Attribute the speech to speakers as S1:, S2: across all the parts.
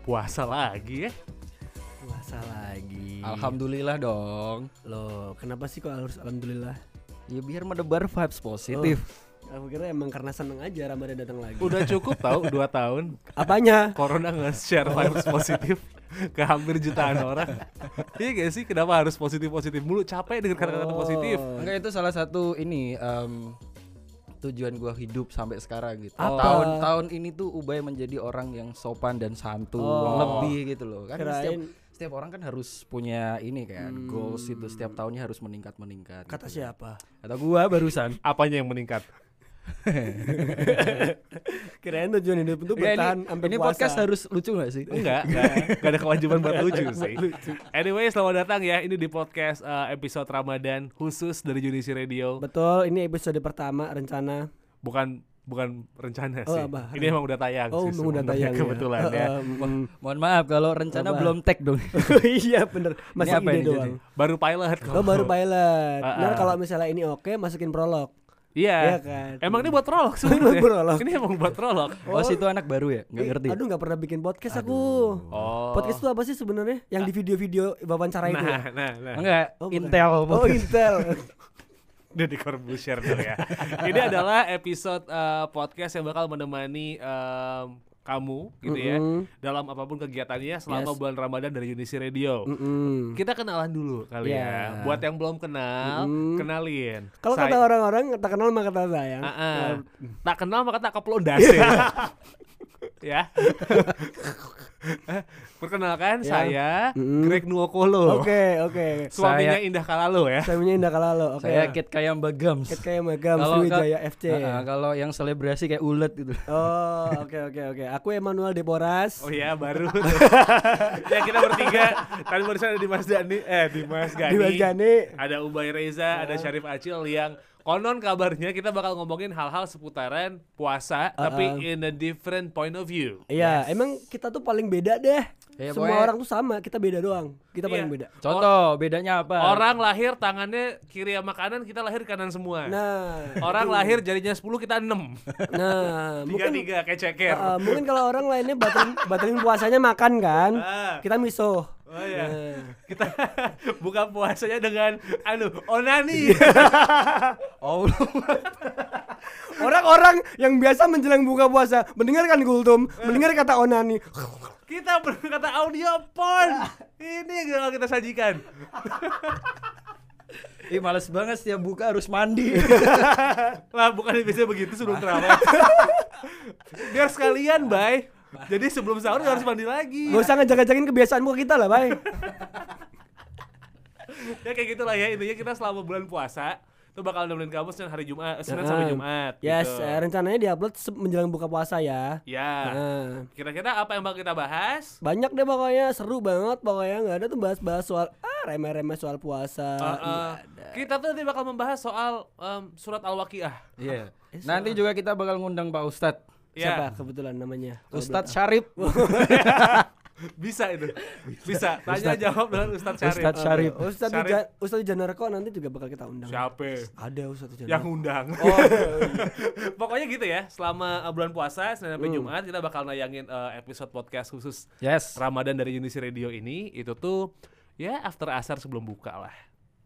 S1: lagi ya.
S2: Puasa lagi.
S3: Alhamdulillah dong.
S2: Loh, kenapa sih kok harus alhamdulillah?
S3: Ya biar mendebar vibes positif.
S2: Aku kira emang karena seneng aja Ramadan datang lagi.
S1: Udah cukup tahu 2 tahun
S2: Apanya?
S1: corona nge-share vibes positif ke hampir jutaan orang. Iya gak sih? Kenapa harus positif-positif mulu? Capek dengan
S2: Oh.
S1: kata-kata positif.
S3: Enggak itu salah satu ini em, tujuan gua hidup sampai sekarang gitu.
S2: Apa?
S3: Tahun-tahun ini tuh Ubay menjadi orang yang sopan dan santun
S2: Oh.
S3: lebih gitu loh. Kan setiap
S2: Kirain- Hmm.
S3: setiap orang kan harus punya ini kan goals itu setiap tahunnya harus meningkat meningkat.
S2: Kata siapa?
S3: Kata gua barusan.
S1: Apanya yang meningkat?
S2: Kirain tujuan hidup itu
S3: Ya,
S2: bertahan
S3: ini
S2: sampai
S3: ini
S2: puasa.
S3: podcast harus lucu gak sih?
S1: Enggak, enggak, enggak ada kewajiban buat lucu sih. Anyway, selamat datang ya. Ini di podcast eh, episode Ramadan khusus dari Unisi Radio.
S2: Betul, ini episode pertama rencana.
S1: Bukan bukan rencana
S2: Oh,
S1: sih.
S2: apa?
S1: Ini emang udah tayang
S2: Oh,
S1: sih.
S2: udah
S1: sebenarnya,
S2: tayang. ya.
S1: kebetulan
S2: Eh,
S1: ya.
S2: eh, mm.
S3: Mohon maaf kalau rencana
S2: Apa?
S3: belum tag dong.
S2: iya bener masih
S3: apa
S2: ide
S3: ini
S2: doang.
S1: Baru pilot.
S2: Oh baru pilot.
S1: Ah,
S2: Nah
S1: ah.
S2: kalau misalnya ini oke masukin prolog.
S1: Iya.
S2: Iya kan.
S1: Emang ini buat prolog
S2: Emang
S1: sebenarnya.
S2: prolog.
S1: Ini emang buat prolog.
S3: Oh, situ anak baru ya? Enggak
S2: Eh,
S3: ngerti.
S2: Aduh nggak pernah bikin podcast aku.
S1: Oh.
S2: Podcast itu apa sih sebenarnya? Yang di video-video wawancara itu. ya?
S1: Nah, nah, nah.
S3: Enggak,
S2: Oh, bukan.
S3: Intel.
S2: Oh
S1: Gitu.
S2: Intel.
S1: Deddy Corbuzier dulu ya. Ini adalah episode eh, podcast yang bakal menemani em, kamu gitu ya
S2: Mm-mm.
S1: dalam apapun kegiatannya selama
S2: Yes.
S1: bulan Ramadan dari Unisi Radio.
S2: Mm-mm.
S1: Kita kenalan dulu kali
S2: Yeah.
S1: ya. Buat yang belum kenal,
S2: Mm-mm.
S1: kenalin.
S2: Kalau
S1: Saya-
S2: kata Nah. orang-orang tak kenal maka tak sayang.
S1: Ah, ah. tak kenal maka tak keplondas ya. ya. Eh, Perkenalkan
S2: Ya.
S1: saya
S2: Mm-mm.
S1: Greg Nuokolo.
S2: Oke oke.
S1: Suaminya
S3: Saya-
S1: Indah Kalalo ya.
S2: Saya punya Indah Kalalo. Oke.
S3: Saya Kit Kayamba Gams.
S2: Ket kayak Magam
S3: Kalau-
S2: Sriwijaya
S3: kalau-
S2: FC.
S3: Ah, ah, kalau yang selebrasi kayak ulet gitu.
S2: Oh oke oke oke. Aku Emmanuel Deporas.
S1: Oh iya baru Ya kita bertiga Tadi barusan ada Dimas Dani Eh Dimas Gani Ya.
S2: Dimas Gani.
S1: Ada Ubay Reza Ada Syarif Acil yang Konon kabarnya kita bakal ngomongin hal-hal seputaran puasa Tapi in a different point of view
S2: Iya, emang kita tuh paling beda deh.
S3: Iya,
S2: Semua
S3: pokoknya-
S2: orang tuh sama, kita beda doang. Kita
S1: Iya.
S2: paling beda.
S3: Contoh, bedanya apa?
S1: Orang lahir tangannya kiri sama kanan Kita lahir kanan semua
S2: Nah,
S1: Orang lahir jarinya 10 kita 6
S2: nah, mungkin
S1: Tiga-tiga kayak ceker
S2: uh, mungkin kalau orang lainnya batalin, batalin puasanya makan kan,
S1: Ah.
S2: kita miso.
S1: Oh iya. Kita buka puasanya dengan anu onani.
S3: Oh,
S2: Orang-orang yang biasa menjelang buka puasa mendengarkan
S1: Eh.
S2: gultum, mendengar kata onani.
S1: Kita berkata audio porn. Ini yang bakal kita sajikan.
S3: ih males banget setiap buka harus mandi.
S1: Lah bukan biasanya begitu sebelum terawih. Biar sekalian, Bay. Jadi sebelum sahur harus mandi lagi.
S2: Gak usah ngajak-ngajakin kebiasaan buka kita lah, Bay.
S1: Ya kayak gitulah ya intinya kita selama bulan puasa itu bakal nemenin kamu Senin hari Jumat, eh, Senin sampai
S2: Heeh.
S1: Jumat.
S2: Yes,
S1: gitu.
S2: eh, rencananya diupload se- menjelang buka puasa ya.
S1: Ya.
S2: Nah.
S1: Kira-kira apa yang bakal kita bahas?
S2: banyak deh pokoknya seru banget pokoknya nggak ada tuh bahas-bahas soal ah remeh-remeh soal puasa
S1: Eh, eh,
S2: Nggak iya, ada.
S1: kita tuh nanti bakal membahas soal em, surat Al-Waqiah.
S3: Iya. Nanti juga kita bakal ngundang Pak Ustadz.
S2: Iya. siapa
S1: Ya,
S2: kebetulan namanya Kalau
S3: Ustadz Syarif.
S1: bisa itu. Bisa. Tanya jawab dengan Ustadz Syarif.
S3: Ustadz
S2: belum-
S3: Syarif.
S2: Eh, Ustadz
S1: Syarif.
S2: Uja- Ustadz Janarko nanti juga bakal kita undang
S1: Siapa?
S2: ada Ustadz
S1: yang
S2: Janarko
S1: undang.
S2: Oh, iya,
S1: Pokoknya gitu ya, selama uh, bulan puasa Senin
S2: Hmm.
S1: sampai Jumat kita bakal nayangin uh, episode podcast khusus
S3: Yes.
S1: Ramadan dari Unisi Radio ini. Itu tuh ya after asar sebelum buka lah.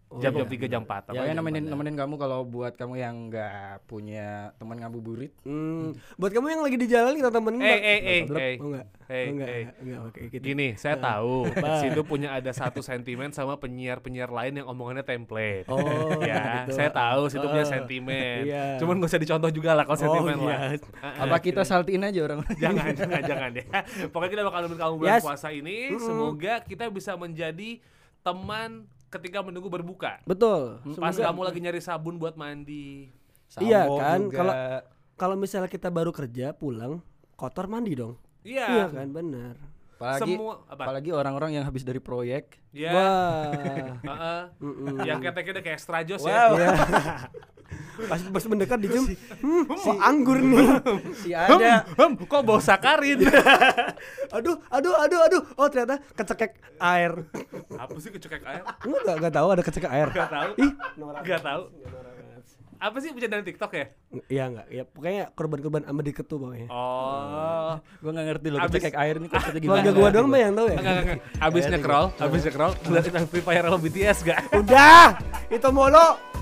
S2: Oh,
S1: Jam-jam 3
S2: iya.
S1: jam 4.
S3: Ya, ya nemenin nemenin kamu kalau buat kamu yang nggak punya teman ngabuburit.
S2: Hmm. buat kamu yang lagi di jalan kita temenin
S1: Eh,
S2: Pak.
S1: eh, eh,
S2: Blok.
S1: eh.
S2: oh enggak
S1: Eh,
S2: oh, enggak
S1: eh.
S2: enggak oke gitu
S1: Gini, saya tahu situ punya ada satu sentimen sama penyiar-penyiar lain yang omongannya template.
S2: Oh,
S1: ya,
S2: gitu.
S1: saya tahu situ punya
S2: Oh,
S1: sentimen.
S2: iya.
S1: Cuman gak usah dicontoh juga lah kalau sentimen
S2: iya.
S1: lah. Ah,
S3: Apa kita saltiin aja orang?
S1: jangan jangan jangan ya pokoknya kita bakal nemenin kamu bulan
S2: Yes.
S1: puasa ini semoga kita bisa menjadi teman ketika menunggu berbuka
S2: betul
S1: pas
S2: Semoga-
S1: kamu lagi nyari sabun buat mandi
S3: Sambo
S2: Iya kan,
S3: juga.
S2: kalau- kalau misalnya kita baru kerja pulang kotor mandi dong iya
S1: iya
S2: kan benar
S3: apalagi,
S1: semua- apa?
S3: apalagi orang-orang yang habis dari proyek.
S1: ya
S2: wah
S1: Heeh.
S2: Mm-mm.
S1: yang keteknya udah kayak strajos ya
S2: Iya. pas pas mendekat dicium, hmm, kok anggur nih.
S3: Si
S1: Hem,
S3: ada
S1: hem, kok bau sakarin
S2: Iya. aduh, aduh, aduh, aduh. Oh ternyata kecekek air.
S1: apa sih kecekek air
S2: Enggak, enggak tahu ada kecekek air.
S1: Gak tahu
S2: Ih,
S1: Gak tahu apa sih bercandaan TikTok ya?
S2: Iya enggak, ya pokoknya korban-korban sama deket tuh pokoknya. Mm.
S1: Oh.
S4: Gue gak ngerti loh,
S1: Abis-
S4: abis, kayak air nih
S1: Ah,
S4: konsepnya gimana.
S2: Keluarga gua doang mah yang tahu
S1: Enggak,
S2: ya.
S1: enggak,
S2: iya. Mm.
S1: enggak. Abis nge-crawl, abis nge-crawl, ngeliatin Free Fire sama BTS gak?
S2: Udah, itu mulu.